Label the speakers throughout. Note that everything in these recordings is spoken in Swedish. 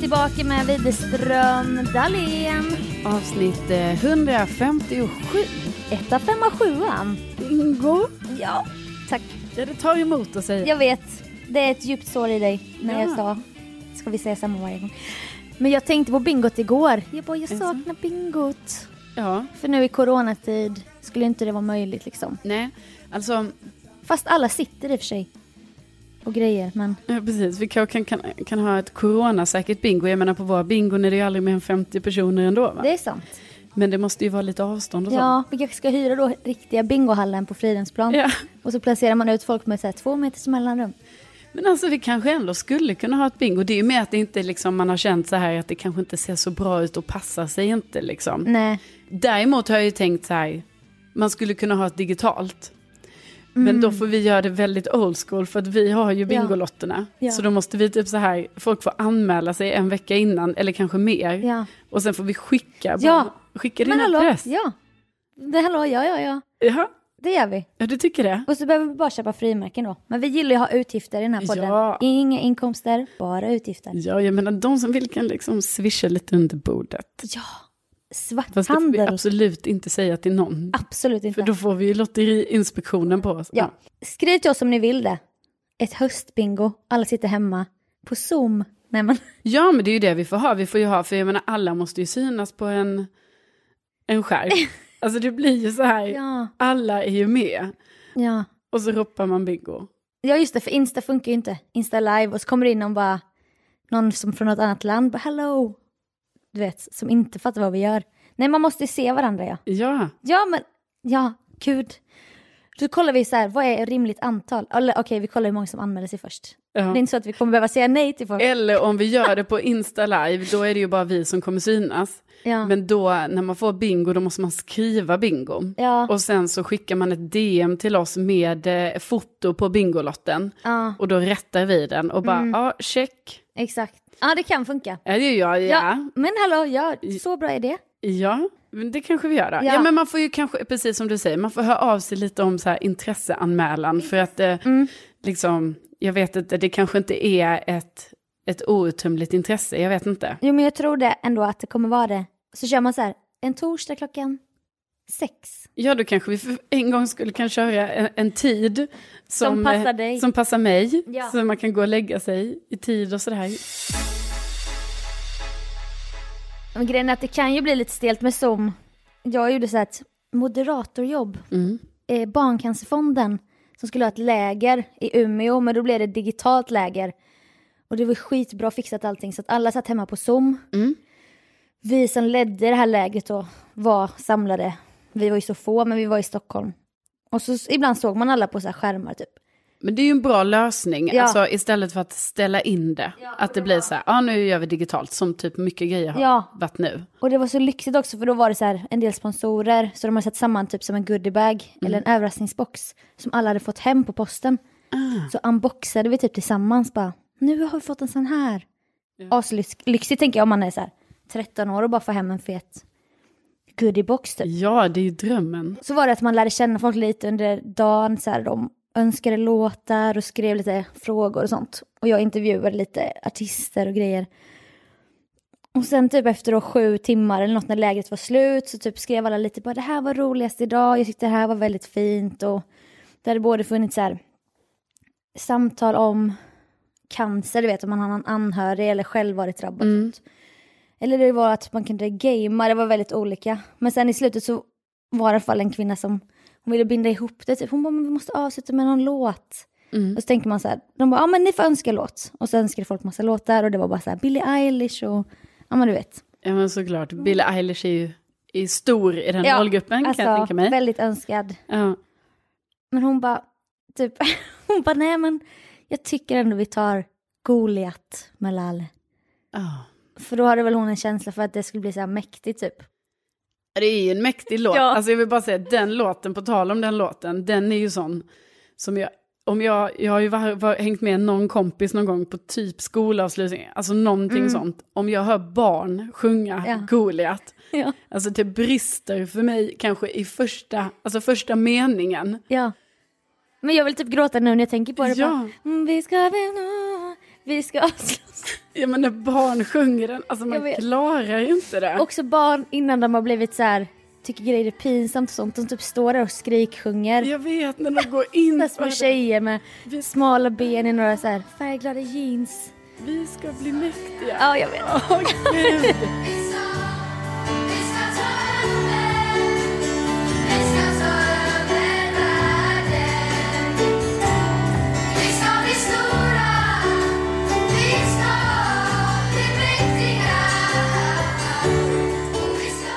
Speaker 1: tillbaka med Widerström Dahlén.
Speaker 2: Avsnitt eh, 157.
Speaker 1: Etta, femma, sjuan.
Speaker 2: Ingo,
Speaker 1: Ja, tack.
Speaker 2: ja, det tar emot att säga.
Speaker 1: Jag vet, det är ett djupt sår i dig när
Speaker 2: Ja.
Speaker 1: jag sa, ska vi säga samma varje gång. Men jag tänkte på bingot igår. Jag bara, jag
Speaker 2: Jaså?
Speaker 1: saknar bingot.
Speaker 2: Ja,
Speaker 1: För nu i coronatid skulle inte det vara möjligt liksom.
Speaker 2: nej, alltså
Speaker 1: Fast alla sitter i och för sig och grejer, men
Speaker 2: ja, precis. Vi kan, kan, kan, kan ha ett coronasäkert bingo. Jag menar på våra bingon är det ju aldrig mer än 50 personer ändå. Va?
Speaker 1: det är sant.
Speaker 2: Men det måste ju vara lite avstånd och så.
Speaker 1: Ja, vi kanske ska hyra då riktiga bingohallen på Fridhemsplan.
Speaker 2: Ja.
Speaker 1: Och så placerar man ut folk med så här, två meters mellanrum.
Speaker 2: Men alltså vi kanske ändå skulle kunna ha ett bingo. Det är ju med att det inte liksom, man har känt så här att det kanske inte ser så bra ut och passar sig inte liksom.
Speaker 1: Nej.
Speaker 2: Däremot har jag ju tänkt så här, man skulle kunna ha ett digitalt. Men
Speaker 1: Mm.
Speaker 2: då får vi göra det väldigt old school för att vi har ju Bingolotterna.
Speaker 1: Ja.
Speaker 2: Så då måste vi typ så här, folk får anmäla sig en vecka innan eller kanske mer.
Speaker 1: Ja.
Speaker 2: Och sen får vi skicka,
Speaker 1: Ja.
Speaker 2: bara, skicka din
Speaker 1: Men hallå,
Speaker 2: adress.
Speaker 1: ja. Det, hallå, ja, ja, ja.
Speaker 2: Jaha,
Speaker 1: Det gör vi.
Speaker 2: ja du tycker det?
Speaker 1: Och så behöver vi bara köpa frimärken då. Men vi gillar ju att ha utgifter i den här podden.
Speaker 2: Ja.
Speaker 1: Inga inkomster, bara utgifter.
Speaker 2: Ja, jag menar de som vill kan liksom swisha lite under bordet.
Speaker 1: Ja,
Speaker 2: Fast det får vi
Speaker 1: svarthandel.
Speaker 2: absolut inte säga till någon.
Speaker 1: Absolut inte.
Speaker 2: För då får vi ju lotteriinspektionen på oss.
Speaker 1: Ja. Skriv till oss om ni vill det. Ett höstbingo, alla sitter hemma på Zoom. Nej, men...
Speaker 2: Ja, men det är ju det vi får ha. Vi får ju ha, för jag menar alla måste ju synas på en, en skärm. Alltså det blir ju så här,
Speaker 1: Ja,
Speaker 2: alla är ju med.
Speaker 1: ja.
Speaker 2: Och så ropar man bingo.
Speaker 1: Ja just det, för Insta funkar ju inte. Insta live och så kommer det in någon bara, någon som från något annat land, bara hello. Du vet, som inte fattar vad vi gör. Nej man måste ju se varandra ja.
Speaker 2: Ja,
Speaker 1: Ja men, ja, gud. Då kollar vi så här, vad är ett rimligt antal? Eller okej, vi kollar hur många som anmäler sig först.
Speaker 2: ja. Eh,
Speaker 1: Det är inte så att vi kommer behöva säga nej till folk.
Speaker 2: Eller om vi gör det på Insta live, då är det ju bara vi som kommer synas.
Speaker 1: Ja,
Speaker 2: Men då, när man får bingo, då måste man skriva bingo.
Speaker 1: ja,
Speaker 2: Och sen så skickar man ett DM till oss med eh, foto på bingolotten.
Speaker 1: ja
Speaker 2: Och då rättar vi den och
Speaker 1: Mm.
Speaker 2: bara, ja, check.
Speaker 1: exakt. Ja, det kan funka.
Speaker 2: Ja, det gör jag, ja.
Speaker 1: Ja, men hallå, ja, så bra är det.
Speaker 2: Ja, men det kanske vi gör. Då. Ja.
Speaker 1: Ja.
Speaker 2: men man får ju kanske, precis som du säger, man får höra av sig lite om så här intresseanmälan. För att eh,
Speaker 1: Mm.
Speaker 2: liksom, jag vet inte, det kanske inte är ett, ett outtömligt intresse, jag vet inte.
Speaker 1: Jo men jag tror det ändå att det kommer vara det. Så kör man så här, en torsdag klockan sex.
Speaker 2: Ja, då kanske vi för en gång skulle kan köra en, en tid som,
Speaker 1: passar
Speaker 2: eh,
Speaker 1: dig.
Speaker 2: som passar mig.
Speaker 1: Ja.
Speaker 2: Så man kan gå och lägga sig i tid och sådär.
Speaker 1: Men grejen är att det kan ju bli lite stelt med Zoom. Jag gjorde så här ett moderatorjobb.
Speaker 2: Mm.
Speaker 1: Eh, Barncancerfonden som skulle ha ett läger i Umeå, men då blev det ett digitalt läger. Och det var skitbra fixat allting, så att alla satt hemma på Zoom.
Speaker 2: Mm.
Speaker 1: Vi som ledde det här lägret då var samlade. Vi var ju så få, men vi var i Stockholm. Och så ibland såg man alla på så här skärmar typ.
Speaker 2: Men det är ju en bra lösning,
Speaker 1: Ja.
Speaker 2: alltså, istället för att ställa in det. att det blir så här, ja nu gör vi digitalt, som typ mycket grejer har
Speaker 1: Ja.
Speaker 2: varit nu.
Speaker 1: Och det var så lyxigt också för då var det så här en del sponsorer så de hade satt samman typ som en goodiebag eller en överraskningsbox som alla hade fått hem på posten. Så unboxade vi typ tillsammans bara, nu har vi fått en sån här. Aslyxigt tänker jag om man är så här 13 år och bara får hem en fet goodiebox typ.
Speaker 2: Ja, det är ju drömmen.
Speaker 1: Så var det att man lärde känna folk lite under dagen, så här, de önskade låtar och skrev lite frågor och sånt. Och jag intervjuade lite artister och grejer. Och sen typ efter då sju timmar eller något när lägret var slut så typ skrev alla lite bara det här var roligast idag, jag tyckte det här var väldigt fint och det hade både funnits så här samtal om cancer, du vet om man har någon anhörig eller själv varit drabbad. och sånt. Eller det var att man kunde gamea, det var väldigt olika. Men sen i slutet så var det i alla fall en kvinna som hon ville binda ihop det. Typ. Hon bara, men vi måste avsluta med någon låt. Och så tänker man så här, de bara, ja men ni får önska låt. Och så önskade folk massa låtar och det var bara så här Billie Eilish och, ja men du vet.
Speaker 2: Ja men såklart, Billie Eilish är ju är stor i den
Speaker 1: Mm. Ja,
Speaker 2: målgruppen kan jag tänka mig.
Speaker 1: Alltså, väldigt önskad.
Speaker 2: Ja.
Speaker 1: Men hon bara, typ, hon bara, nej men jag tycker ändå vi tar Goliat med Lalle.
Speaker 2: Ja.
Speaker 1: För då hade väl hon en känsla för att det skulle bli så här mäktigt typ.
Speaker 2: Det är ju en mäktig låt.
Speaker 1: Ja.
Speaker 2: Alltså jag vill bara säga, den låten, på tal om den låten, den är ju sån som jag, om jag, jag har ju var, var, hängt med någon kompis någon gång på typ skolavslutning, alltså någonting sånt. Om jag hör barn sjunga
Speaker 1: Mm. Ja.
Speaker 2: Goliat,
Speaker 1: Ja.
Speaker 2: alltså det brister för mig kanske i första, alltså första meningen.
Speaker 1: Ja. Men jag vill typ gråta nu när jag tänker på det.
Speaker 2: Ja.
Speaker 1: Bara, mm, vi ska väl nå, Vi ska slåss.
Speaker 2: Ja men när barn sjunger den, alltså
Speaker 1: Jag
Speaker 2: man
Speaker 1: vet.
Speaker 2: klarar ju inte det.
Speaker 1: Också barn innan de har blivit så här tycker grejer är pinsamt och sånt. De typ står där och skriksjunger.
Speaker 2: Jag vet när de går in.
Speaker 1: Sådana små
Speaker 2: och-
Speaker 1: tjejer med
Speaker 2: Vi,
Speaker 1: smala ben i några så här färgglada jeans.
Speaker 2: vi ska bli mäktiga.
Speaker 1: Ja, jag vet.
Speaker 2: Åh gud.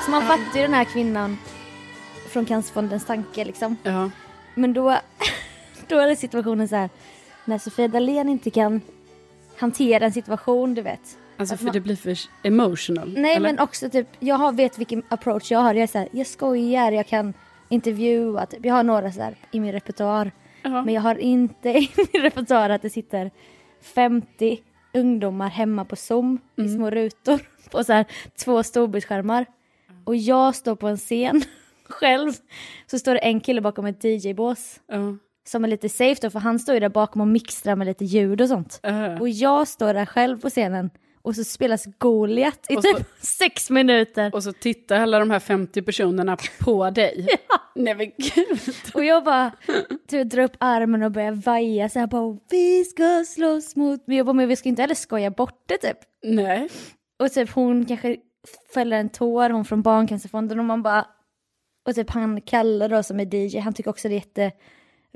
Speaker 1: Så man fattar ju den här kvinnan från Cancerfondens tanke liksom.
Speaker 2: Ja.
Speaker 1: Men då, då är det situationen så här när Sofia Dalén inte kan hantera en situation, du vet.
Speaker 2: Alltså
Speaker 1: Att
Speaker 2: för
Speaker 1: man-
Speaker 2: det blir för emotional.
Speaker 1: Nej
Speaker 2: eller?
Speaker 1: men också typ, jag har, vet vilken approach jag har. Jag är så här, jag skojar, jag kan intervjua, typ. jag har några så här i min repertoar.
Speaker 2: Ja.
Speaker 1: Men jag har inte i min repertoar att det sitter 50 ungdomar hemma på Zoom
Speaker 2: Mm.
Speaker 1: i små rutor på så här två storbildsskärmar. Och jag står på en scen själv. Så står det en kille bakom ett DJ-bås
Speaker 2: Ja.
Speaker 1: som är lite safe då för han står ju där bakom och mixtrar med lite ljud och sånt.
Speaker 2: Ja.
Speaker 1: Och jag står där själv på scenen och så spelas Goliat i
Speaker 2: Och så-
Speaker 1: typ sex minuter.
Speaker 2: Och så tittar alla de här 50 personerna på dig. Nej men gud.
Speaker 1: Och jag bara du, vet, drar upp armen och börjar vaja så här bara vi ska slåss mot... Men jag bara men vi ska inte heller skoja bort det typ.
Speaker 2: Nej.
Speaker 1: Och typ hon kanske fäller en tår, hon från Barncancerfonden och man bara... Och typ han Kalle då som är DJ, han tycker också det är jätte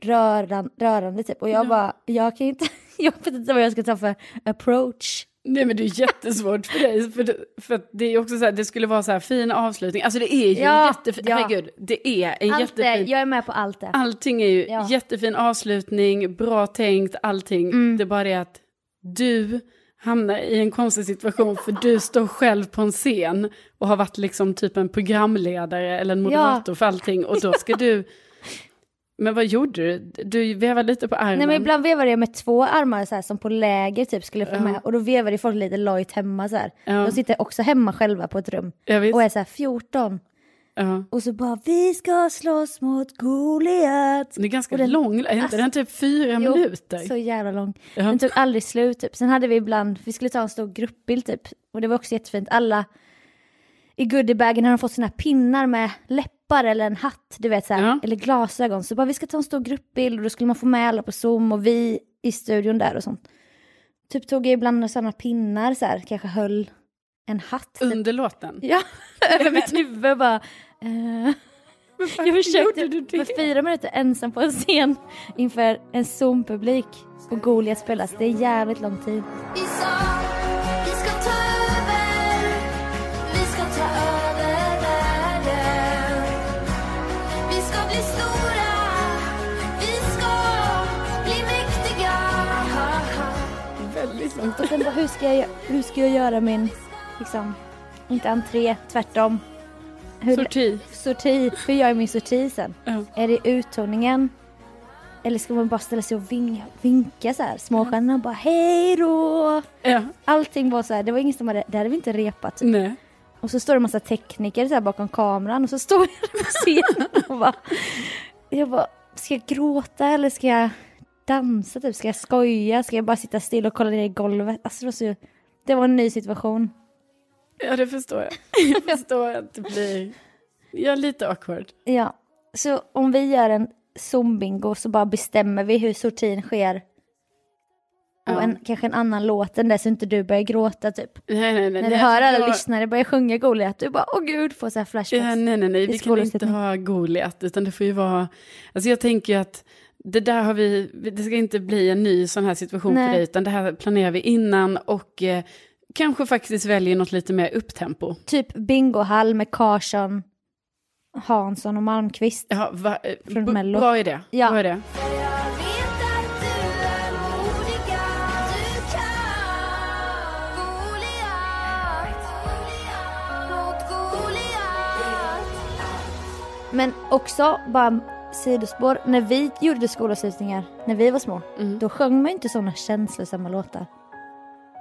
Speaker 1: rörande, rörande typ. Och jag bara, jag kan ju inte, jag vet inte vad jag ska ta för approach.
Speaker 2: Nej men det är jättesvårt för dig. För, det- för att det är också så här, det skulle vara så här fin avslutning. Alltså det är ju
Speaker 1: Ja,
Speaker 2: jättefint.
Speaker 1: ja.
Speaker 2: Herregud, det är en
Speaker 1: Allt det,
Speaker 2: jättefin.
Speaker 1: jag är med på allt det.
Speaker 2: Allting är ju
Speaker 1: Ja.
Speaker 2: jättefin avslutning, bra tänkt, allting.
Speaker 1: Mm.
Speaker 2: Det är bara det att du hamnar i en konstig situation för du står själv på en scen och har varit liksom typ en programledare eller en moderator för allting och då ska du... Men vad gjorde du? Du vevade lite på armen.
Speaker 1: Nej men ibland vevade jag med två armar så här, som på läger typ skulle få
Speaker 2: Ja.
Speaker 1: med och då vevade folk lite lojt hemma så här.
Speaker 2: Ja.
Speaker 1: De sitter också hemma själva på ett rum
Speaker 2: Ja, visst.
Speaker 1: och är så här 14
Speaker 2: Ja.
Speaker 1: och så bara vi ska slåss mot Goliat.
Speaker 2: Det är ganska
Speaker 1: Och den-
Speaker 2: lång, är inte
Speaker 1: Alltså-
Speaker 2: den typ fyra
Speaker 1: Jo,
Speaker 2: minuter?
Speaker 1: Så jävla lång.
Speaker 2: Ja.
Speaker 1: Den tog aldrig slut typ. Sen hade vi ibland, vi skulle ta en stor gruppbild typ och det var också jättefint. Alla i goodiebagen har de fått sina pinnar med läppar eller en hatt, du vet så här,
Speaker 2: Ja.
Speaker 1: eller glasögon. Så bara vi ska ta en stor gruppbild och då skulle man få med alla på Zoom och vi i studion där och sånt. Typ tog jag ibland sådana pinnar så här, kanske höll en hatt. typ.
Speaker 2: Under låten?
Speaker 1: Ja, över mitt huvud bara. eh. Jag
Speaker 2: gjorde du
Speaker 1: försökte
Speaker 2: det?
Speaker 1: för fyra minuter ensam på en scen inför en Zoom-publik och Goliat spelas. Det är jävligt lång tid.
Speaker 3: Vi sa vi ska ta över, vi ska ta över världen. Vi ska bli stora, vi ska bli mäktiga.
Speaker 2: Väldigt långt.
Speaker 1: Och sen bara, hur ska jag, gö- hur ska jag göra min, liksom, inte entré, tvärtom. Hur,
Speaker 2: Sorti.
Speaker 1: sorti. Hur gör jag min sorti sen?
Speaker 2: Ja.
Speaker 1: Är det uttoningen? Eller ska man bara ställa sig och vinga, vinka så här? Småstjärnorna bara hej då!
Speaker 2: Ja.
Speaker 1: Allting var så här, det var ingen som hade, det hade vi inte repat.
Speaker 2: Nej.
Speaker 1: Och så står det en massa tekniker så här bakom kameran och så står jag där på scenen och bara, jag bara, ska jag gråta eller ska jag dansa typ? Ska jag skoja? Ska jag bara sitta still och kolla ner i golvet? Alltså det var, så, det var en ny situation.
Speaker 2: Ja, det förstår jag. Jag förstår att det blir ja, lite awkward.
Speaker 1: Ja, så om vi gör en Zoom-bingo så bara bestämmer vi hur sortin sker.
Speaker 2: Ja.
Speaker 1: Och en, kanske en annan låt än det så inte du börjar gråta typ.
Speaker 2: Nej, nej, nej.
Speaker 1: När du
Speaker 2: nej,
Speaker 1: hör alla
Speaker 2: jag-
Speaker 1: lyssnare börja sjunga Goliat, du bara åh gud, får så här
Speaker 2: Ja,
Speaker 1: flashbacks.
Speaker 2: nej, nej, nej. Vi kan inte
Speaker 1: skolavslutning.
Speaker 2: ha Goliat, utan det får ju vara... Alltså jag tänker ju att det där har vi... Det ska inte bli en ny sån här situation
Speaker 1: Nej.
Speaker 2: för dig, utan det här planerar vi innan och eh, kanske faktiskt väljer något lite mer upptempo.
Speaker 1: Typ bingohall med Karlsson, Hansson och Malmqvist.
Speaker 2: Ja, va, eh,
Speaker 1: Från
Speaker 2: b-
Speaker 1: Mello.
Speaker 2: bra idé.
Speaker 1: Ja.
Speaker 2: Bra idé.
Speaker 3: Jag vet att du är modiga, du kan. Goliat, mot Goliat.
Speaker 1: Men också, bara sidospår, när vi gjorde skolavslutningar, när vi var små, då sjöng man ju inte sådana känslosamma låtar.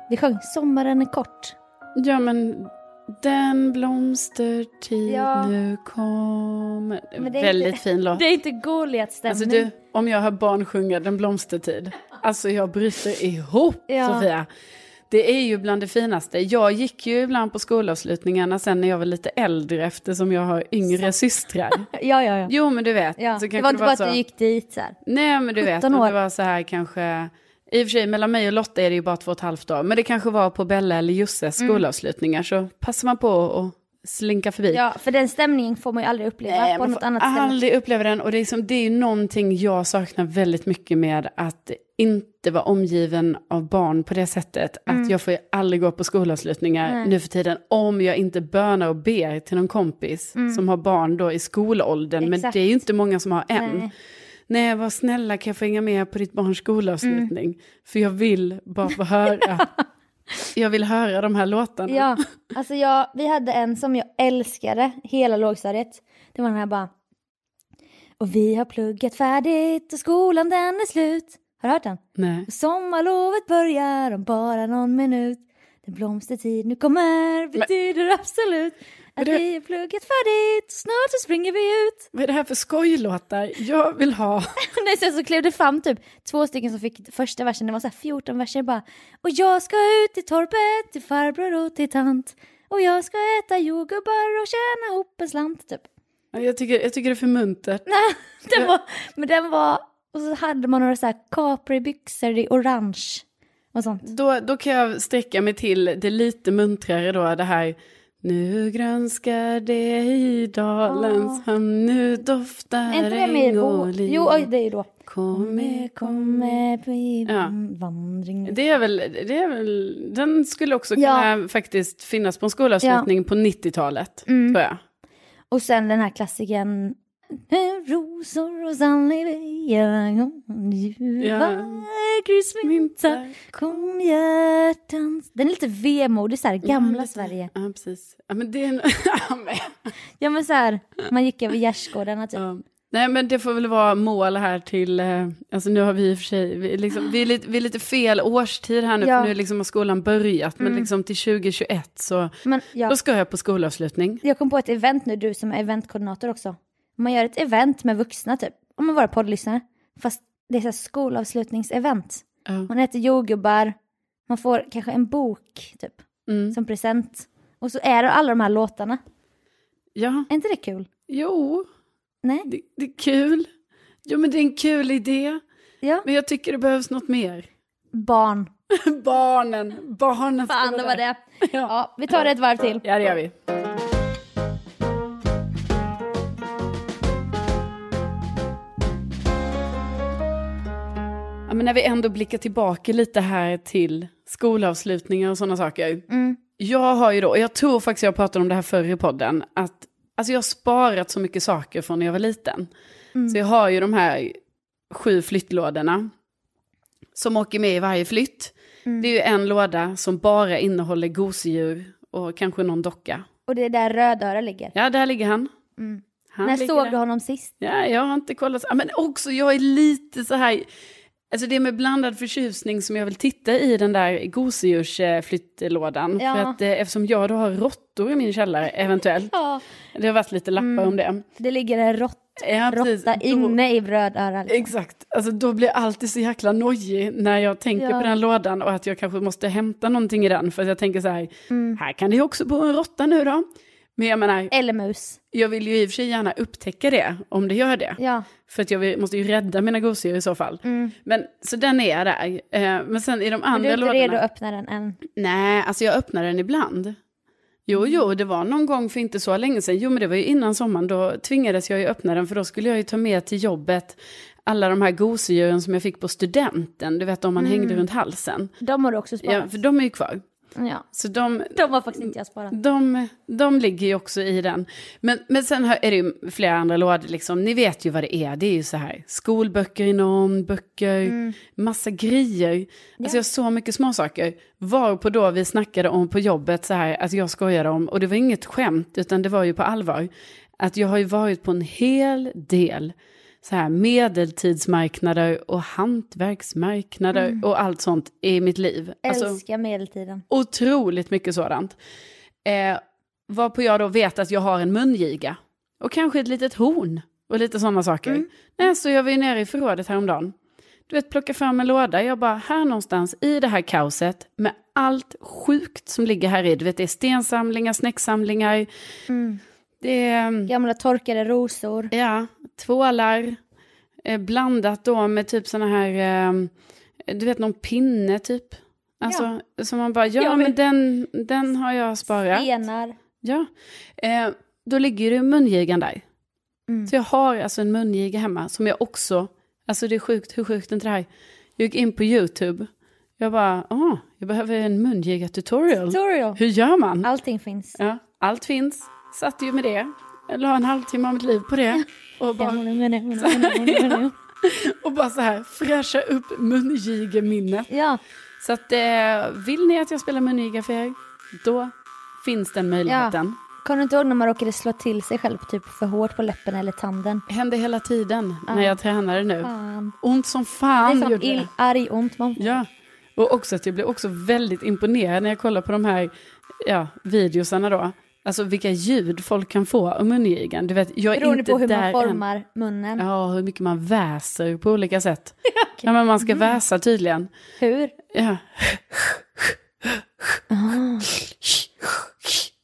Speaker 1: Vi sjöng Sommaren är kort.
Speaker 2: Ja, men den blomstertid
Speaker 1: Ja.
Speaker 2: nu kommer.
Speaker 1: Men det är
Speaker 2: Väldigt
Speaker 1: inte-
Speaker 2: fin låt.
Speaker 1: Det är inte Goliat-stämning.
Speaker 2: Alltså du, om jag hör barn sjunga Den blomstertid, alltså jag bryter ihop
Speaker 1: Ja.
Speaker 2: Sofia. Det är ju bland det finaste. Jag gick ju ibland på skolavslutningarna sen när jag var lite äldre eftersom jag har yngre systrar.
Speaker 1: Ja, ja, ja.
Speaker 2: Jo men du vet.
Speaker 1: ja.
Speaker 2: så
Speaker 1: Det
Speaker 2: kanske
Speaker 1: var inte bara att
Speaker 2: så.
Speaker 1: du gick dit så här.
Speaker 2: Nej men du vet,
Speaker 1: 17
Speaker 2: om
Speaker 1: år.
Speaker 2: det var så här kanske, i och för sig mellan mig och Lotta är det ju bara två och ett halvt år, men det kanske var på Bella eller Jusses
Speaker 1: Mm.
Speaker 2: skolavslutningar så passar man på att slinka förbi.
Speaker 1: Ja, för den stämningen får man ju aldrig uppleva
Speaker 2: Nej,
Speaker 1: på
Speaker 2: man
Speaker 1: något
Speaker 2: får
Speaker 1: annat ställe.
Speaker 2: Eh, aldrig uppleva den och det är, liksom, det är ju någonting jag saknar väldigt mycket med att inte vara omgiven av barn på det sättet. Att jag får ju aldrig gå på skolavslutningar
Speaker 1: Mm. Nej.
Speaker 2: nu för tiden om jag inte bönar och ber till någon kompis som har barn då i skolåldern. Men
Speaker 1: Mm. Exakt.
Speaker 2: det är ju inte många som har än.
Speaker 1: Nej.
Speaker 2: Nej, var snälla kan jag få hänga med på ditt barns skolavslutning?
Speaker 1: Mm.
Speaker 2: För jag vill bara få höra. jag vill höra de här låtarna.
Speaker 1: Ja, alltså jag, vi hade en som jag älskade hela lågstadiet. Det var den här bara. Och vi har pluggat färdigt och skolan den är slut. Har du hört den?
Speaker 2: Nej.
Speaker 1: Och sommarlovet börjar om bara någon minut. Den blomstertid nu kommer betyder absolut att
Speaker 2: det-
Speaker 1: vi har pluggat färdigt och snart så springer vi ut.
Speaker 2: Vad är det här för skojlåtar? Jag vill ha...
Speaker 1: Nej, sen så klev det fram typ två stycken som fick första versen, det var så här 14 verser bara. Och jag ska ut till torpet, till farbror och till tant. Och jag ska äta jordgubbar och tjäna ihop en slant typ.
Speaker 2: Ja, Jag tycker, jag tycker det är för muntert.
Speaker 1: Den var, men den var, och så hade man några så här Capri-byxor i orange och sånt.
Speaker 2: Då, då kan jag sträcka mig till det lite muntrare då, det här Nu grönskar det i dalens hamn, nu doftar
Speaker 1: Ah. Är inte det med
Speaker 2: äng och
Speaker 1: bo?
Speaker 2: liv.
Speaker 1: Jo, oj, Mm. det är ju då.
Speaker 2: Kom med, kom med.
Speaker 1: Kommer på
Speaker 2: Ja.
Speaker 1: vandring.
Speaker 2: Det är, väl, det är väl, den skulle också kunna faktiskt finnas på en skolavslutning på 90-talet,
Speaker 1: Mm.
Speaker 2: tror jag.
Speaker 1: Och sen den här klassiken Rosor och salvia, ljuva kryssmynta,
Speaker 2: Mynta.
Speaker 1: kom hjärtans... Den är lite vemodig, så här, gamla Sverige.
Speaker 2: Ja, precis. Ja, men det är en... Ja, men-
Speaker 1: Ja men så här, man gick över gärdsgårdarna typ.
Speaker 2: Ja. Nej men det får väl vara mål här till, eh, alltså nu har vi i och för sig, vi, är liksom, vi, är, lite, vi är lite fel årstid här nu
Speaker 1: Ja.
Speaker 2: för nu liksom har skolan börjat men liksom till 2021 så,
Speaker 1: Men
Speaker 2: då
Speaker 1: ja,
Speaker 2: ska jag på skolavslutning.
Speaker 1: jag kom på ett event nu, du som är eventkoordinator också. Man gör ett event med vuxna typ, om man våra poddlyssnare. Fast det är så här skolavslutningsevent.
Speaker 2: Ja.
Speaker 1: Man äter jordgubbar, man får kanske en bok typ,
Speaker 2: Mm.
Speaker 1: som present. Och så är det alla de här låtarna.
Speaker 2: ja,
Speaker 1: Är inte det kul?
Speaker 2: jo,
Speaker 1: Nej?
Speaker 2: det, det är kul. Jo men det är en kul idé,
Speaker 1: Ja.
Speaker 2: men jag tycker det behövs något mer.
Speaker 1: Barn.
Speaker 2: Barnen, barnen ska
Speaker 1: Fan,
Speaker 2: vara
Speaker 1: det var
Speaker 2: där.
Speaker 1: det.
Speaker 2: Ja.
Speaker 1: Ja, vi tar det ett varv till.
Speaker 2: ja det gör vi. Ja, men när vi ändå blickar tillbaka lite här till skolavslutningar och sådana saker.
Speaker 1: Mm.
Speaker 2: Jag har ju då, och jag tror faktiskt jag pratade om det här förr i podden, att alltså jag har sparat så mycket saker från när jag var liten. Så jag har ju de här sju flyttlådorna som åker med i varje flytt. Det är ju
Speaker 1: Mm.
Speaker 2: en låda som bara innehåller gosedjur och kanske någon docka.
Speaker 1: Och det är där Rödöra ligger.
Speaker 2: Ja, där ligger han. han
Speaker 1: Mm. När
Speaker 2: ligger
Speaker 1: såg
Speaker 2: där.
Speaker 1: du honom sist?
Speaker 2: Ja, jag har inte kollat. Ja, Men också, jag är lite så här... Alltså det är med blandad förtjusning som jag vill titta i den där gosedjursflyttlådan.
Speaker 1: Ja.
Speaker 2: För att, eh, eftersom jag då har råttor i min källare, eventuellt.
Speaker 1: Ja.
Speaker 2: Det har varit lite lappar om det.
Speaker 1: Det ligger en rått,
Speaker 2: Ja, precis.
Speaker 1: råtta
Speaker 2: Då-
Speaker 1: inne i Rödöra. liksom.
Speaker 2: Exakt, alltså, då blir jag alltid så jäkla nojig när jag tänker
Speaker 1: Ja.
Speaker 2: på den lådan och att jag kanske måste hämta någonting i den. För att jag tänker så här,
Speaker 1: Mm.
Speaker 2: här kan det ju också bo en råtta nu då. Men jag menar,
Speaker 1: Eller mus.
Speaker 2: jag vill ju i och för sig gärna upptäcka det, om det gör det.
Speaker 1: Ja. Mm.
Speaker 2: För att jag vill- måste ju rädda mina gosedjur i så fall. Men, så den är där. Eh, Men sen i
Speaker 1: Men
Speaker 2: de
Speaker 1: du är
Speaker 2: andra
Speaker 1: inte
Speaker 2: lådorna...
Speaker 1: redo att öppna den än.
Speaker 2: Nej, alltså jag öppnar den ibland. Jo, jo, det var någon gång för inte så länge sedan. Jo, men det var ju innan sommaren. Då tvingades jag ju öppna den för då skulle jag ju ta med till jobbet alla de här gosedjuren som jag fick på studenten. Du vet, de man hängde runt halsen.
Speaker 1: De har du också sparat.
Speaker 2: Ja, för de är ju kvar.
Speaker 1: Ja.
Speaker 2: Så de,
Speaker 1: De har faktiskt inte jag sparat.
Speaker 2: Mm. de, de ligger ju också i den. Men, men sen har- är det ju flera andra lådor, liksom. ni vet ju vad det är. Det är ju så här, skolböcker i någon, böcker, massa grejer. Alltså jag har så mycket småsaker. Varpå då vi snackade om på jobbet, så här, att jag skojade om, och det var inget skämt, utan det var ju på allvar, att jag har ju varit på en hel del så här, medeltidsmarknader och hantverksmarknader och allt sånt i mitt liv. Alltså-
Speaker 1: Älskar medeltiden.
Speaker 2: Otroligt mycket sådant. Eh, varpå jag då vet att jag har en mungiga. Och kanske ett litet horn. Och lite sådana saker. Nej, så jag var ju nere i förrådet häromdagen. du vet, plocka fram en låda. Jag bara, här någonstans i det här kaoset med allt sjukt som ligger här i. Du vet, det är stensamlingar, snäcksamlingar, det är mm,
Speaker 1: Gamla torkade rosor.
Speaker 2: ja, tvålar, eh, blandat då med typ såna här, eh, du vet någon pinne typ. Alltså, som man bara, ja,
Speaker 1: Ja,
Speaker 2: men
Speaker 1: men-
Speaker 2: den, den har jag sparat.
Speaker 1: Stenar.
Speaker 2: Ja. Eh, då ligger det mungigan där.
Speaker 1: Mm.
Speaker 2: Så jag har alltså en mungiga hemma som jag också, alltså det är sjukt, hur sjukt är inte det här? Jag gick in på YouTube, jag bara, åh, jag behöver en mungiga tutorial.
Speaker 1: Tutorial.
Speaker 2: Hur gör man?
Speaker 1: Allting finns.
Speaker 2: Ja, allt finns, satt ju med det, jag la en halvtimme av mitt liv på det. Och bara, och bara så här, fräscha upp mungigeminnet.
Speaker 1: Ja,
Speaker 2: Så att eh, vill ni att jag spelar mungiga för er, då finns den möjligheten.
Speaker 1: kommer du inte ihåg när man råkade slå till sig själv typ för hårt på läppen eller tanden?
Speaker 2: Hände hela tiden när jag tränade nu.
Speaker 1: Fan.
Speaker 2: Ont som
Speaker 1: Det är
Speaker 2: fan
Speaker 1: sån
Speaker 2: gjorde
Speaker 1: ill,
Speaker 2: det.
Speaker 1: arg ont man får.
Speaker 2: Ja. Och också att jag blev också väldigt imponerad när jag kollar på de här ja, videosarna då. Alltså vilka ljud folk kan få av mungigan. Du vet, jag är
Speaker 1: Beroende
Speaker 2: inte
Speaker 1: på hur
Speaker 2: där
Speaker 1: man formar munnen.
Speaker 2: Än. Ja, hur mycket man väser på olika sätt. Ja, men man ska
Speaker 1: Mm.
Speaker 2: väsa tydligen.
Speaker 1: Hur?
Speaker 2: Ja.
Speaker 1: Ah.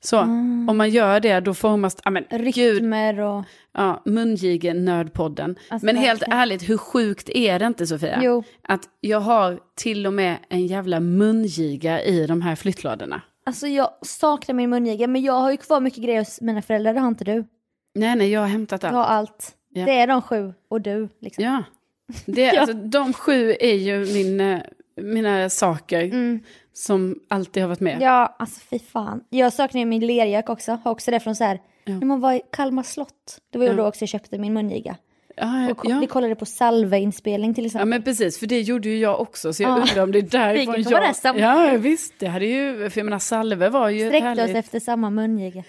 Speaker 2: Så, om man gör det då formas... Ja, men gud,
Speaker 1: Rytmer och...
Speaker 2: Ja, mungigen nördpodden.
Speaker 1: Alltså,
Speaker 2: Men helt
Speaker 1: verkligen.
Speaker 2: ärligt, hur sjukt är det inte Sofia?
Speaker 1: Jo.
Speaker 2: Att jag har till och med en jävla mungiga i de här flyttlådorna.
Speaker 1: Alltså jag saknar min mungiga men jag har ju kvar mycket grejer hos mina föräldrar, det har inte du.
Speaker 2: Nej, nej, jag har hämtat
Speaker 1: Jag
Speaker 2: allt.
Speaker 1: har allt.
Speaker 2: Ja.
Speaker 1: Det är de sju och du. Liksom.
Speaker 2: Ja. Det, Alltså, de sju är ju min, eh, mina saker som alltid har varit med.
Speaker 1: Mm. Ja, alltså fy fan. Jag saknar ju min lerjack också, har också det från så här, när man var i Kalmar slott. Det var ju då också jag köpte min mungiga.
Speaker 2: Ja,
Speaker 1: Och
Speaker 2: ja.
Speaker 1: Vi kollade på Salve-inspelning till
Speaker 2: Ja
Speaker 1: exempel.
Speaker 2: men precis, för det gjorde ju jag också, så jag
Speaker 1: Ja.
Speaker 2: undrar om det är därifrån
Speaker 1: Vilket var det
Speaker 2: jag...
Speaker 1: som-
Speaker 2: Ja visst, det hade ju, för jag menar Salve var ju ett
Speaker 1: Sträckte
Speaker 2: härligt...
Speaker 1: oss efter samma mungiga.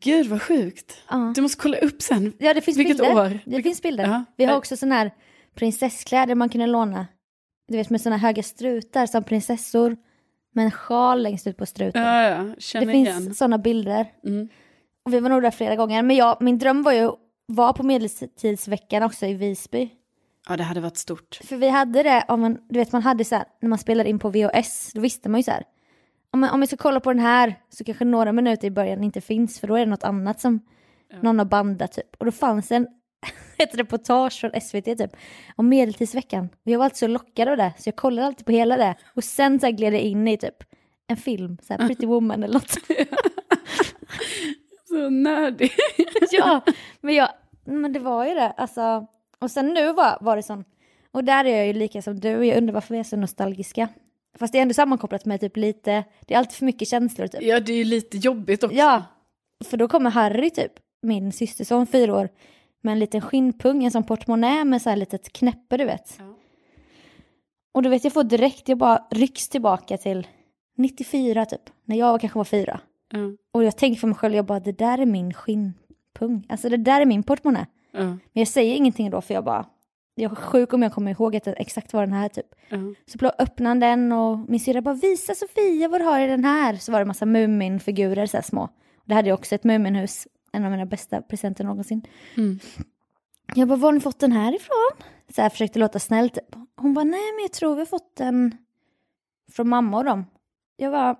Speaker 2: Gud vad sjukt!
Speaker 1: Ja.
Speaker 2: Du måste kolla upp sen.
Speaker 1: Ja, det finns
Speaker 2: Vilket
Speaker 1: bilder.
Speaker 2: år?
Speaker 1: Det finns bilder.
Speaker 2: Ja.
Speaker 1: Vi har också sådana här prinsesskläder man kunde låna. Du vet med sådana höga strutar som prinsessor med en sjal längst ut på struten.
Speaker 2: Ja, ja, känner
Speaker 1: det
Speaker 2: igen. Mm.
Speaker 1: finns sådana bilder. Och vi var nog där flera gånger. Men jag, min dröm var ju att vara på medeltidsveckan också i Visby.
Speaker 2: Ja, det hade varit stort.
Speaker 1: För vi hade det, om man, du vet man hade så här, när man spelade in på VHS, då visste man ju så här. Om, man, om jag ska kolla på den här så kanske några minuter i början inte finns för då är det något annat som någon har bandat typ. Och då fanns en, ett reportage från SVT typ om medeltidsveckan. Och jag var alltid så lockad av det så jag kollade alltid på hela det. Och sen så här gled jag in i typ en film, så här Pretty Woman eller något.
Speaker 2: Så nördig.
Speaker 1: ja, men, jag, men det var ju det. Alltså, och sen nu var, var det sån, och där är jag ju lika som du, jag undrar varför vi är så nostalgiska. Fast det är ändå sammankopplat med typ lite, det är alltid för mycket känslor typ.
Speaker 2: Ja, det är ju lite jobbigt också.
Speaker 1: Ja, för då kommer Harry typ, min systerson fyra år, med en liten skinnpung, en sån portmonnä med så här litet knäppe du vet.
Speaker 2: Ja.
Speaker 1: Och du vet jag får direkt, jag bara rycks tillbaka till 94 typ, när jag kanske var fyra.
Speaker 2: Ja,
Speaker 1: Och jag tänker för mig själv, jag bara det där är min skinnpung, alltså det där är min portmonnä.
Speaker 2: ja,
Speaker 1: Men jag säger ingenting då för jag bara, jag är sjuk om jag kommer ihåg att det exakt var den här typ.
Speaker 2: ja.
Speaker 1: Så plå- öppnade han den och min syrra bara visa Sofia vad du har i den här. Så var det massa Muminfigurer så här små. Och det hade jag också ett Muminhus, en av mina bästa presenter någonsin.
Speaker 2: Mm.
Speaker 1: Jag bara var har ni fått den här ifrån? Så här försökte låta snäll typ. Hon bara nej men jag tror vi har fått den från mamma och dem. Jag bara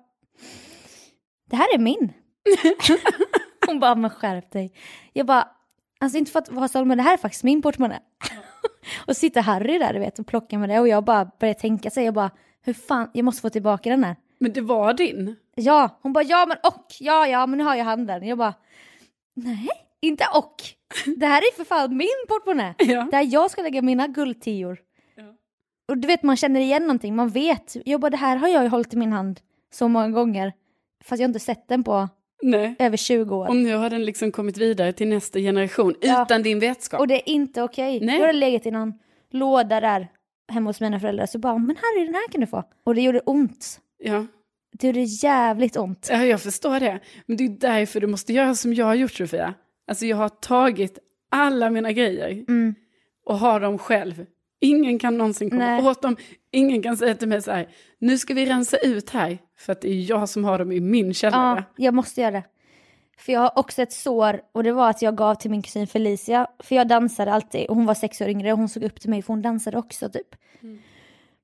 Speaker 1: det här är min. Hon bara men skärp dig. Jag bara alltså inte för att vara sån men det här är faktiskt min portmonnä. Och sitter Harry där du vet och plockar med det och jag bara börjar tänka så här, jag bara hur fan, jag måste få tillbaka den här.
Speaker 2: Men det var din.
Speaker 1: Ja, hon bara ja men och, ja ja men nu har jag handen. Jag bara nej, inte och. Det här är för fan min portmonnä.
Speaker 2: Ja.
Speaker 1: Mm. Där jag ska lägga mina guldtior. Och du vet man känner igen någonting, man vet. Jag bara det här har jag ju hållit i min hand så många gånger. Fast jag har inte sett den på
Speaker 2: Nej.
Speaker 1: över 20 år.
Speaker 2: Och nu har den liksom kommit vidare till nästa generation
Speaker 1: Ja.
Speaker 2: utan din vetskap.
Speaker 1: Och det är inte okej.
Speaker 2: Nej.
Speaker 1: Jag hade legat i någon låda där hemma hos mina föräldrar så bara men Harry den här kan du få. Och det gjorde ont.
Speaker 2: Ja.
Speaker 1: Det gjorde jävligt ont.
Speaker 2: ja, jag förstår det. Men det är därför du måste göra som jag har gjort Sofia. Alltså jag har tagit alla mina grejer
Speaker 1: Mm.
Speaker 2: och har dem själv. Ingen kan någonsin komma
Speaker 1: Nej.
Speaker 2: åt dem. Ingen kan säga till mig så här, nu ska vi rensa ut här. För att det är jag som har dem i min källare.
Speaker 1: Ja, jag måste göra det. För jag har också ett sår och det var att jag gav till min kusin Felicia. För jag dansade alltid och hon var sex år yngre och hon såg upp till mig för hon dansade också typ.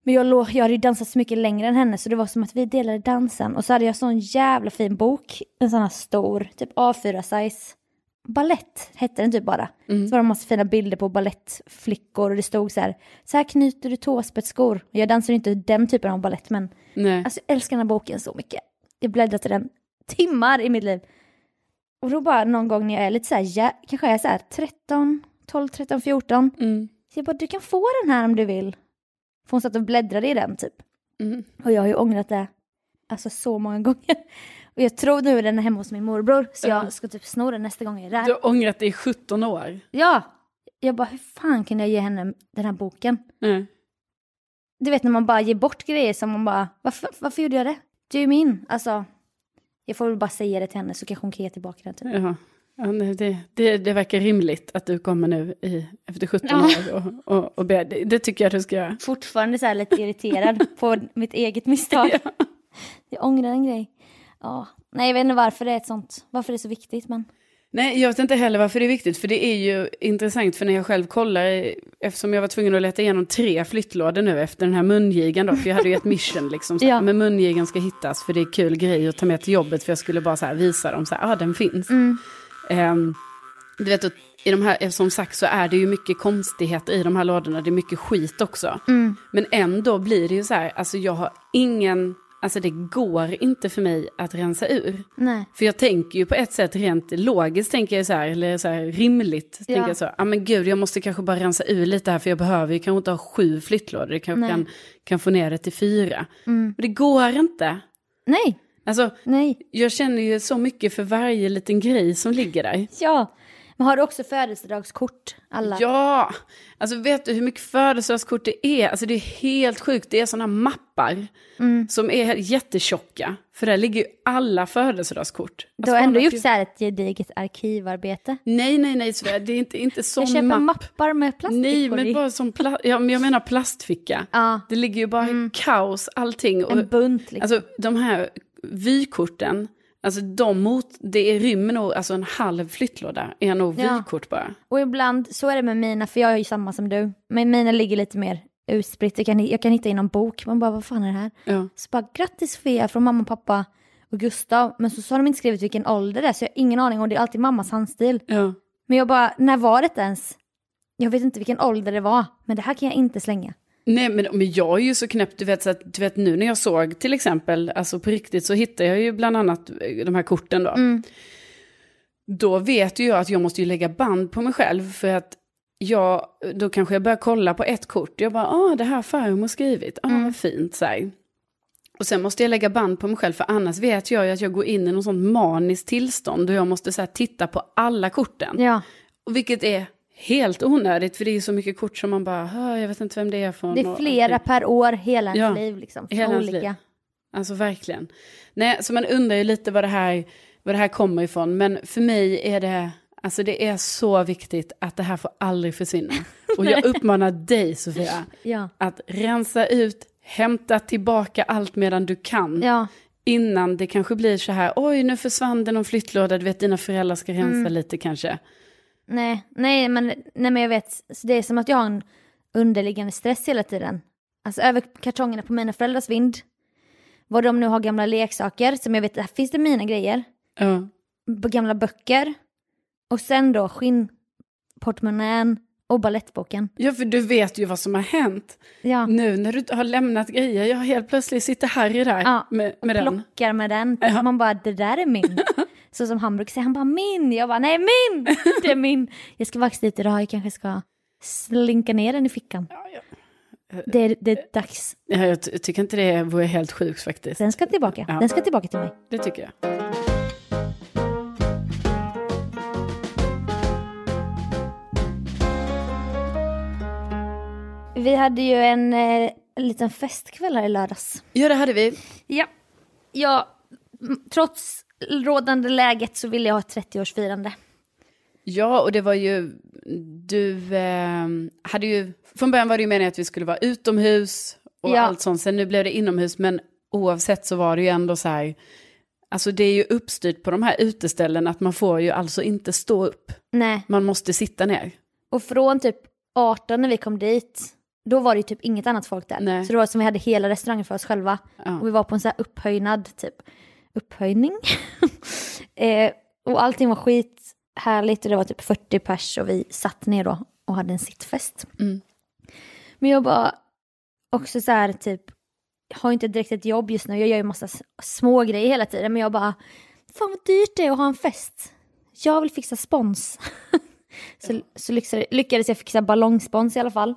Speaker 1: Men jag, lå- jag hade ju dansat så mycket längre än henne så det var som att vi delade dansen. Och så hade jag sån jävla fin bok, en sån här stor, typ A4-size. Ballett hette den typ bara. Så var det en massa fina bilder på ballettflickor och det stod så här, så här knyter du tåspetsskor. Och jag dansar ju inte den typen av ballett men
Speaker 2: Nej.
Speaker 1: Alltså jag älskar den här boken så mycket. Jag bläddrar till den timmar i mitt liv. Och då bara någon gång när jag är lite så här, ja, kanske är så här 13, 12, 13, 14.
Speaker 2: Mm.
Speaker 1: Så jag bara, du kan få den här om du vill. För hon satt och bläddrade i den typ.
Speaker 2: Mm.
Speaker 1: Och jag har ju ångrat det, alltså så många gånger. Och jag tror nu den är hemma hos min morbror, så
Speaker 2: Ja.
Speaker 1: jag ska typ sno den nästa gång jag är där.
Speaker 2: Du har ångrat dig i 17 år.
Speaker 1: Ja! Jag bara, hur fan kunde jag ge henne den här boken?
Speaker 2: Nej.
Speaker 1: Du vet när man bara ger bort grejer som man bara, varför, varför gjorde jag det? Du är ju min. Alltså, jag får väl bara säga det till henne så kanske hon kan ge tillbaka den. Typ.
Speaker 2: Ja. Ja, nej, det, det, det verkar rimligt att du kommer nu i, efter 17
Speaker 1: Ja.
Speaker 2: år och, och, och ber. Det, det tycker jag att du ska göra.
Speaker 1: Fortfarande så här lite irriterad på mitt eget misstag. Jag ångrar en grej. Ja. Nej, jag vet inte varför det är ett sånt, varför det är så viktigt men.
Speaker 2: Nej, jag vet inte heller varför det är viktigt, för det är ju intressant, för när jag själv kollar, eh, eftersom jag var tvungen att leta igenom tre flyttlådor nu efter den här mungigan då, för jag hade ju ett mission liksom, så,
Speaker 1: Ja.
Speaker 2: men mungigan ska hittas, för det är kul grej att ta med till jobbet, för jag skulle bara så här visa dem, så här, ah, den finns. Ehm, du vet, och i de här, eftersom sagt så är det ju mycket konstigheter i de här lådorna, det är mycket skit också. Men ändå blir det ju så här, alltså jag har ingen, alltså det går inte för mig att rensa ur.
Speaker 1: Nej.
Speaker 2: För jag tänker ju på ett sätt rent logiskt, tänker jag så här, eller så här rimligt, tänker jag så, ja ah, men gud jag måste kanske bara rensa ur lite här för jag behöver ju kanske inte ha sju flyttlådor, jag kanske
Speaker 1: Nej. Mm.
Speaker 2: kan, kan få ner det till fyra. Men det går inte.
Speaker 1: Nej,
Speaker 2: Alltså,
Speaker 1: nej.
Speaker 2: jag känner ju så mycket för varje liten grej som ligger där.
Speaker 1: Ja. Men har du också födelsedagskort? Alla?
Speaker 2: Ja, alltså vet du hur mycket födelsedagskort det är? Alltså det är helt sjukt, det är sådana mappar
Speaker 1: Mm.
Speaker 2: som är jättetjocka. För där ligger ju alla födelsedagskort. Alltså,
Speaker 1: du har ändå gjort så här ett gediget arkivarbete.
Speaker 2: Nej, nej, nej, Sofia, det är inte, inte sån
Speaker 1: Jag köper
Speaker 2: mapp.
Speaker 1: mappar med plastfickor
Speaker 2: Nej, men
Speaker 1: i.
Speaker 2: bara som pla- ja, men jag menar plastficka.
Speaker 1: Ja. Mm.
Speaker 2: Det ligger ju bara kaos, allting. Och,
Speaker 1: En bunt liksom.
Speaker 2: alltså de här vykorten, alltså de mot, det är rymmer nog, alltså en halv flyttlåda är nog
Speaker 1: Ja.
Speaker 2: vykort bara.
Speaker 1: Och ibland, så är det med mina, för jag är ju samma som du, men mina ligger lite mer utspritt. Jag kan, jag kan hitta i någon bok, man bara vad fan är det här?
Speaker 2: Ja.
Speaker 1: Så bara grattis Sofia från mamma, pappa och Gustav, men så, så har de inte skrivit vilken ålder det är så jag har ingen aning och det är alltid mammas handstil.
Speaker 2: Ja.
Speaker 1: Men jag bara, när var det ens? Jag vet inte vilken ålder det var, men det här kan jag inte slänga.
Speaker 2: Nej, men, men jag är ju så knäpp, du vet, så att, du vet nu när jag såg till exempel, alltså på riktigt så hittade jag ju bland annat eh, de här korten då. Då vet ju jag att jag måste ju lägga band på mig själv för att jag, då kanske jag börjar kolla på ett kort, jag bara, ah det här har farmor skrivit, ah vad fint så här. Och sen måste jag lägga band på mig själv för annars vet jag ju att jag går in i någon sån maniskt tillstånd och jag måste så här, titta på alla korten.
Speaker 1: Ja,
Speaker 2: Och Vilket är helt onödigt, för det är så mycket kort som man bara, "Hö, jag vet inte vem det är från.
Speaker 1: det är
Speaker 2: och
Speaker 1: flera
Speaker 2: allting.
Speaker 1: per år, hela ens
Speaker 2: Ja,
Speaker 1: liv liksom. från
Speaker 2: hela ens
Speaker 1: olika.
Speaker 2: liv. Alltså verkligen. Nej, så man undrar ju lite vad det, här, vad det här kommer ifrån, men för mig är det, alltså det är så viktigt att det här får aldrig försvinna. Och jag uppmanar dig Sofia,
Speaker 1: Ja.
Speaker 2: att rensa ut, hämta tillbaka allt medan du kan.
Speaker 1: Ja,
Speaker 2: Innan det kanske blir så här, oj nu försvann det någon flyttlåda, du vet dina föräldrar ska rensa
Speaker 1: Mm.
Speaker 2: lite kanske.
Speaker 1: nej, nej men, nej men jag vet, så det är som att jag har en underliggande stress hela tiden. Alltså över kartongerna på mina föräldrars vind, vad de nu har gamla leksaker, som jag vet, här finns det mina grejer,
Speaker 2: Ja.
Speaker 1: b- gamla böcker, och sen då skinnportmonnän och ballettboken.
Speaker 2: ja, för du vet ju vad som har hänt.
Speaker 1: Ja,
Speaker 2: Nu när du har lämnat grejer, jag helt plötsligt sitter Harry där
Speaker 1: Ja,
Speaker 2: med, med den.
Speaker 1: plockar med den.
Speaker 2: Ja.
Speaker 1: Man bara, det där är min. Så som han brukar säga, han bara min. Jag bara, nej min! Det är min. Jag ska vaxa dit idag, jag kanske ska slinka ner den i fickan. Det är, det är dags.
Speaker 2: Ja, jag ty- tycker inte det vore helt sjukt faktiskt.
Speaker 1: Den ska tillbaka.
Speaker 2: Ja.
Speaker 1: Den ska tillbaka till mig.
Speaker 2: Det tycker jag.
Speaker 1: Vi hade ju en eh, liten festkväll här i lördags.
Speaker 2: Ja, det hade vi.
Speaker 1: Ja. ja. m- Trots rådande läget så ville jag ha ett 30-årsfirande.
Speaker 2: Ja, och det var ju, du eh, hade ju, från början var det ju meningen att vi skulle vara utomhus och
Speaker 1: Ja.
Speaker 2: allt sånt. Sen nu blev det inomhus, men oavsett så var det ju ändå så här, Alltså det är ju uppstyrt på de här uteställena att man får ju alltså inte stå upp.
Speaker 1: Nej,
Speaker 2: Man måste sitta ner.
Speaker 1: och från typ 18 när vi kom dit, då var det ju typ inget annat folk där.
Speaker 2: Nej.
Speaker 1: Så det var som vi hade hela restaurangen för oss själva. Och vi
Speaker 2: Ja.
Speaker 1: var på en sån här upphöjnad typ. Upphöjning. eh, och allting var skithärligt och det var typ 40 pers och vi satt ner då och hade en sittfest.
Speaker 2: Mm.
Speaker 1: Men jag bara, också så här typ, har inte direkt ett jobb just nu, jag gör ju massa s- små grejer hela tiden men jag bara, fan vad dyrt det är att ha en fest. Jag vill fixa spons. så så lyxade- lyckades jag fixa ballongspons i alla fall.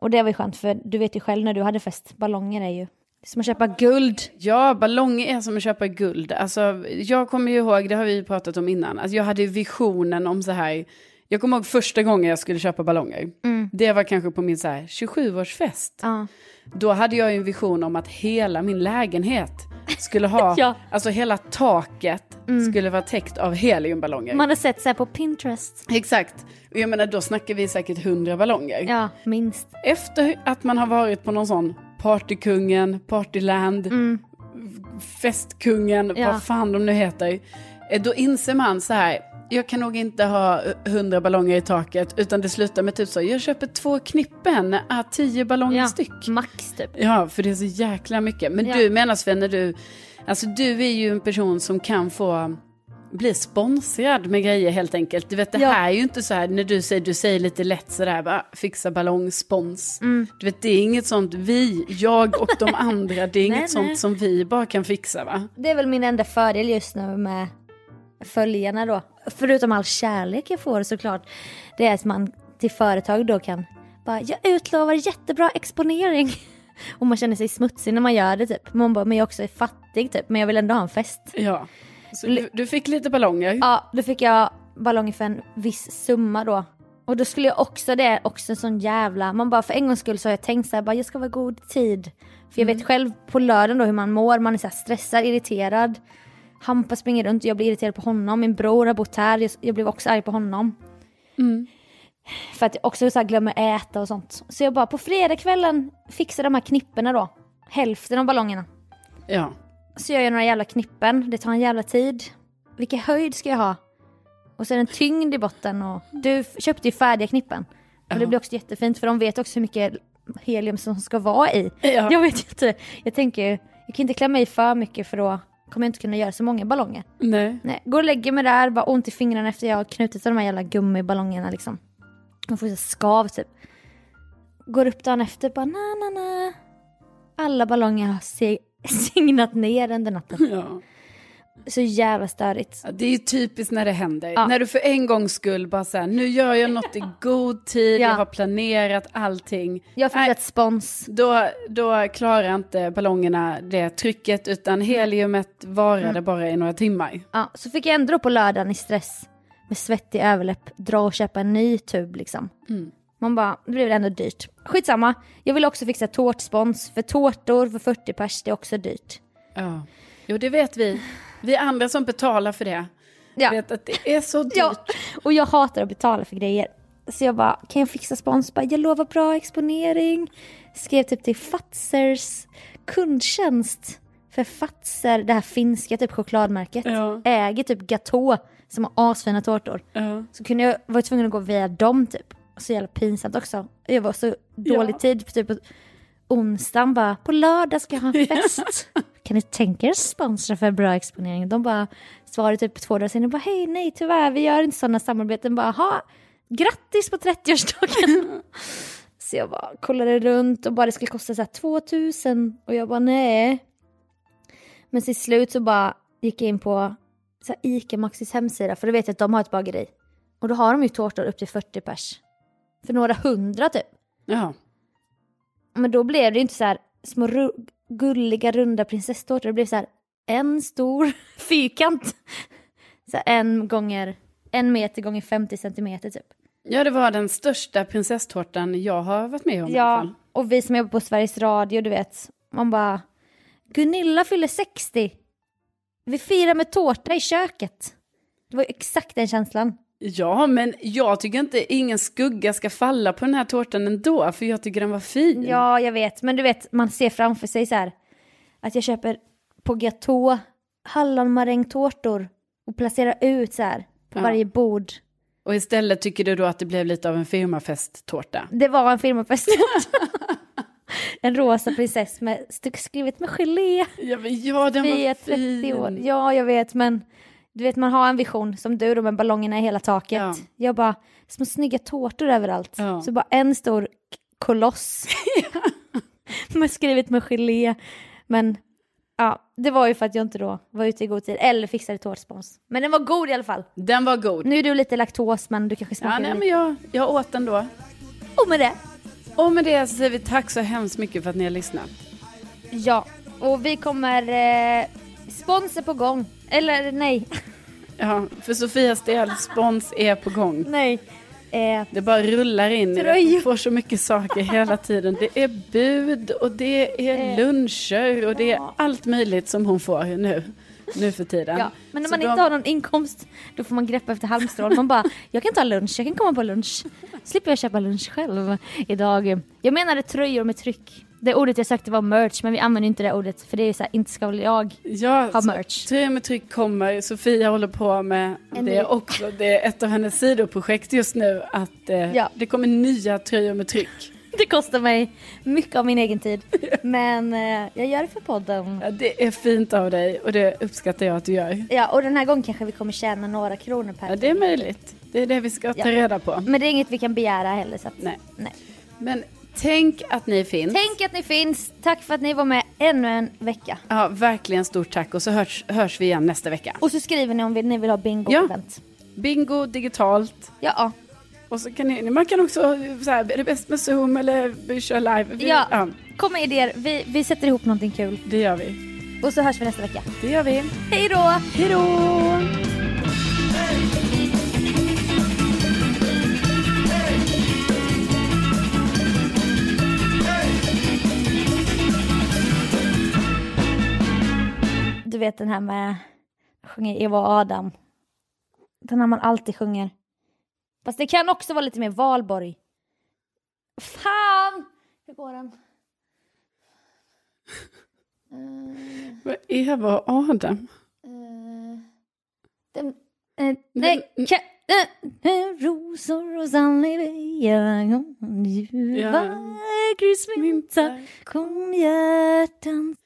Speaker 1: Och det var ju skönt för du vet ju själv när du hade fest, ballonger är ju det är som att köpa guld.
Speaker 2: ja, ballong är som att köpa guld. Alltså, jag kommer ju ihåg, det har vi ju pratat om innan, alltså, jag hade ju visionen om så här, jag kommer ihåg första gången jag skulle köpa ballonger. Det var kanske på min så här 27-årsfest.
Speaker 1: Mm. Ja.
Speaker 2: Då hade jag ju en vision om att hela min lägenhet skulle ha,
Speaker 1: Ja. Mm.
Speaker 2: alltså hela taket skulle vara täckt av heliumballonger.
Speaker 1: Man har sett så här på Pinterest.
Speaker 2: Exakt. Och jag menar, då snackar vi säkert hundra ballonger.
Speaker 1: Ja, minst.
Speaker 2: Efter att man har varit på någon sån partykungen, partyland, festkungen,
Speaker 1: Mm. Ja.
Speaker 2: vad fan de nu heter. eh, Då inser man så här, jag kan nog inte ha hundra ballonger i taket utan det slutar med typ så, jag köper två knippen, ah, tio ballonger
Speaker 1: Ja,
Speaker 2: styck.
Speaker 1: max typ.
Speaker 2: Ja, för det är så jäkla mycket. Men
Speaker 1: Ja.
Speaker 2: du menar Sven, när du, alltså du är ju en person som kan få bli sponsrad med grejer helt enkelt. Du vet det
Speaker 1: Ja.
Speaker 2: här är ju inte så här när du säger, du säger lite lätt sådär, bara, fixa ballongspons.
Speaker 1: Mm.
Speaker 2: Du vet det är inget sånt vi, jag och de andra, det är inget
Speaker 1: Nej,
Speaker 2: sånt
Speaker 1: nej.
Speaker 2: som vi bara kan fixa va?
Speaker 1: Det är väl min enda fördel just nu med följarna då. Förutom all kärlek jag får såklart. Det är att man till företag då kan bara, jag utlovar jättebra exponering. Och man känner sig smutsig när man gör det typ. Man bara, men jag också är fattig typ, men jag vill ändå ha en fest.
Speaker 2: Ja. Så du, du fick lite ballonger.
Speaker 1: Ja, då fick jag ballonger för en viss summa då. Och då skulle jag också, det är också en sån jävla, man bara för en gångs skull så har jag tänkt så här, bara, jag ska vara i god tid. För jag vet själv på lördagen då hur man mår, man är så här stressad, irriterad. Hampa springer runt och jag blir irriterad på honom, min bror har bott här, jag, jag blev också arg på honom. För att jag också så här glömmer äta och sånt. Så jag bara på fredagskvällen fixar de här knipporna då, hälften av ballongerna.
Speaker 2: Ja.
Speaker 1: Så gör jag några jävla knippen, det tar en jävla tid. Vilken höjd ska jag ha? Och så är det en tyngd i botten och du f- köpte ju färdiga knippen. Och det blir också jättefint för de vet också hur mycket helium som ska vara i.
Speaker 2: Ja.
Speaker 1: Jag vet inte, jag tänker ju, jag kan inte klämma i för mycket för då kommer jag inte kunna göra så många ballonger.
Speaker 2: Nej.
Speaker 1: Nej, går och lägger mig där, bara ont i fingrarna efter jag har knutit av de här jävla gummiballongerna liksom. Man får så här skav typ. Går upp dagen efter, bara na na na. Alla ballonger har sig- signat ner under natten.
Speaker 2: Ja.
Speaker 1: Så jävla störigt.
Speaker 2: Ja, Det är ju typiskt när det händer.
Speaker 1: Ja.
Speaker 2: När du för en gångs skull bara så här, nu gör jag något i god tid,
Speaker 1: Ja.
Speaker 2: jag har planerat allting.
Speaker 1: Jag fick
Speaker 2: Nej,
Speaker 1: ett spons.
Speaker 2: då, då klarar inte ballongerna det trycket utan heliumet varade
Speaker 1: Mm.
Speaker 2: bara i några timmar.
Speaker 1: Ja, så fick jag ändå på lördagen i stress med svettig överläpp dra och köpa en ny tub liksom. Man bara, det blev ändå dyrt. Skitsamma, jag vill också fixa tårtspons för tårtor för 40 pers, det är också dyrt.
Speaker 2: Ja. Jo, det vet vi. Vi andra som betalar för det
Speaker 1: Ja.
Speaker 2: vet att det är så dyrt.
Speaker 1: Ja, och jag hatar att betala för grejer. Så jag bara, kan jag fixa spons? Bara, jag lovar bra exponering. Skrev typ till Fazers kundtjänst. För Fazer, det här finska typ chokladmärket,
Speaker 2: Ja.
Speaker 1: äger typ Gatå som har asfina tårtor.
Speaker 2: Ja.
Speaker 1: Så kunde jag, var jag tvungen att gå via dem typ. Så jävla pinsamt också. Jag var så dålig
Speaker 2: Ja.
Speaker 1: tid på typ onsdagen bara, på lördag ska jag ha en fest. kan ni tänka er sponsra för bra exponering? De bara svarade typ två dagar senare, bara hej nej tyvärr vi gör inte sådana samarbeten. Bara ha grattis på 30-årsdagen. så jag bara kollade runt och bara det skulle kosta så här 2000 och jag bara nej. Men till slut så bara gick jag in på så här Ica Maxis hemsida för då vet jag att de har ett bageri. Och då har de ju tårtor upp till 40 pers. För några hundra typ.
Speaker 2: Ja.
Speaker 1: Men då blev det ju inte så här små ru- gulliga runda prinsesstårtor. Det blev så här en stor fyrkant. Så här en gånger, en meter gånger 50 centimeter typ.
Speaker 2: ja, det var den största prinsesstårtan jag har varit med om i alla
Speaker 1: Ja,
Speaker 2: fall.
Speaker 1: och vi som jobbar på Sveriges Radio, du vet. Man bara, Gunilla fyller 60. Vi firar med tårta i köket. Det var ju exakt den känslan.
Speaker 2: Ja, men jag tycker inte ingen skugga ska falla på den här tårtan ändå, för jag tycker den var fin.
Speaker 1: Ja, jag vet. Men du vet, man ser framför sig så här. Att jag köper på Gatå hallonmarängtårtor och placera ut så här på
Speaker 2: Ja.
Speaker 1: varje bord.
Speaker 2: Och istället tycker du då att det blev lite av en firmafesttårta?
Speaker 1: Det var en firmafest. en rosa prinsess med styck- skrivet med gelé.
Speaker 2: Ja, men ja den
Speaker 1: Vi är
Speaker 2: var
Speaker 1: 30
Speaker 2: fin.
Speaker 1: år. Ja, jag vet, men du vet man har en vision som du då med ballongerna i hela taket.
Speaker 2: Ja.
Speaker 1: Jag bara, små snygga tårtor överallt.
Speaker 2: Ja.
Speaker 1: Så bara en stor k- koloss. med skrivet med gelé. Men ja, det var ju för att jag inte då var ute i god tid eller fixade tårtspons. Men den var god i alla fall.
Speaker 2: Den var god.
Speaker 1: Nu är du lite laktos, men du kanske
Speaker 2: Ja,
Speaker 1: smakar
Speaker 2: nej,
Speaker 1: lite.
Speaker 2: men jag, jag åt den då.
Speaker 1: Och med det,
Speaker 2: Och med det så säger vi tack så hemskt mycket för att ni har lyssnat.
Speaker 1: ja. Och vi kommer eh, sponsor på gång. Eller nej,
Speaker 2: Ja, för Sofias del, spons är på gång.
Speaker 1: nej. Eh,
Speaker 2: Det bara rullar in i det.
Speaker 1: Tröjor.
Speaker 2: Du får så mycket saker hela tiden. Det är bud och det är
Speaker 1: Eh,
Speaker 2: luncher och det är
Speaker 1: ja.
Speaker 2: allt möjligt som hon får nu, nu för tiden.
Speaker 1: Ja, men om
Speaker 2: Så
Speaker 1: man
Speaker 2: de-
Speaker 1: inte har någon inkomst då får man greppa efter halmstrån. Man bara, jag kan ta lunch, jag kan komma på lunch. Slipper jag köpa lunch själv idag. Jag menade tröjor med tryck. Det ordet jag sökte var merch, men vi använder inte det ordet för det är så här, inte ska väl jag
Speaker 2: Ja,
Speaker 1: ha
Speaker 2: så
Speaker 1: merch.
Speaker 2: Tre med tryck kommer, Sofia håller på med
Speaker 1: En ny-
Speaker 2: det också. Det är ett av hennes sidoprojekt just nu att eh,
Speaker 1: Ja.
Speaker 2: det kommer nya tröjor med tryck.
Speaker 1: Det kostar mig mycket av min egen tid. Men eh, jag gör det för podden.
Speaker 2: Ja, det är fint av dig och det uppskattar jag att du gör.
Speaker 1: Ja, och den här gången kanske vi kommer tjäna några kronor per.
Speaker 2: Ja, det är möjligt. Det är det vi ska ta
Speaker 1: Ja.
Speaker 2: reda på.
Speaker 1: Men det är inget vi kan begära heller. Så att,
Speaker 2: Nej.
Speaker 1: nej.
Speaker 2: Men tänk att ni finns.
Speaker 1: Tänk att ni finns. Tack för att ni var med ännu en vecka.
Speaker 2: Ja, verkligen stort tack och så hörs, hörs vi igen nästa vecka.
Speaker 1: Och så skriver ni om vi- ni vill ha
Speaker 2: Ja.
Speaker 1: bingo-event.
Speaker 2: Bingo digitalt.
Speaker 1: Ja. ja.
Speaker 2: Och så kan ni, man kan också, så här, är det bäst med Zoom eller vi kör live? Vi,
Speaker 1: Ja. Kom med idéer, vi, vi sätter ihop någonting kul.
Speaker 2: Det gör vi.
Speaker 1: Och så hörs vi nästa vecka.
Speaker 2: Det gör vi.
Speaker 1: Hej då!
Speaker 2: Hej då!
Speaker 1: Du vet den här med, jag sjunger Eva och Adam. Den här man alltid sjunger. Fast det kan också vara lite mer Valborg. Fan! Hur går den? Eh,
Speaker 2: Vad är Eva och Adam?
Speaker 1: eh, den eh, nej,
Speaker 2: Men-
Speaker 1: kan, eh, rosor och sandlivia, ljuva
Speaker 2: Ja.
Speaker 1: grismynta. Kom hjärtan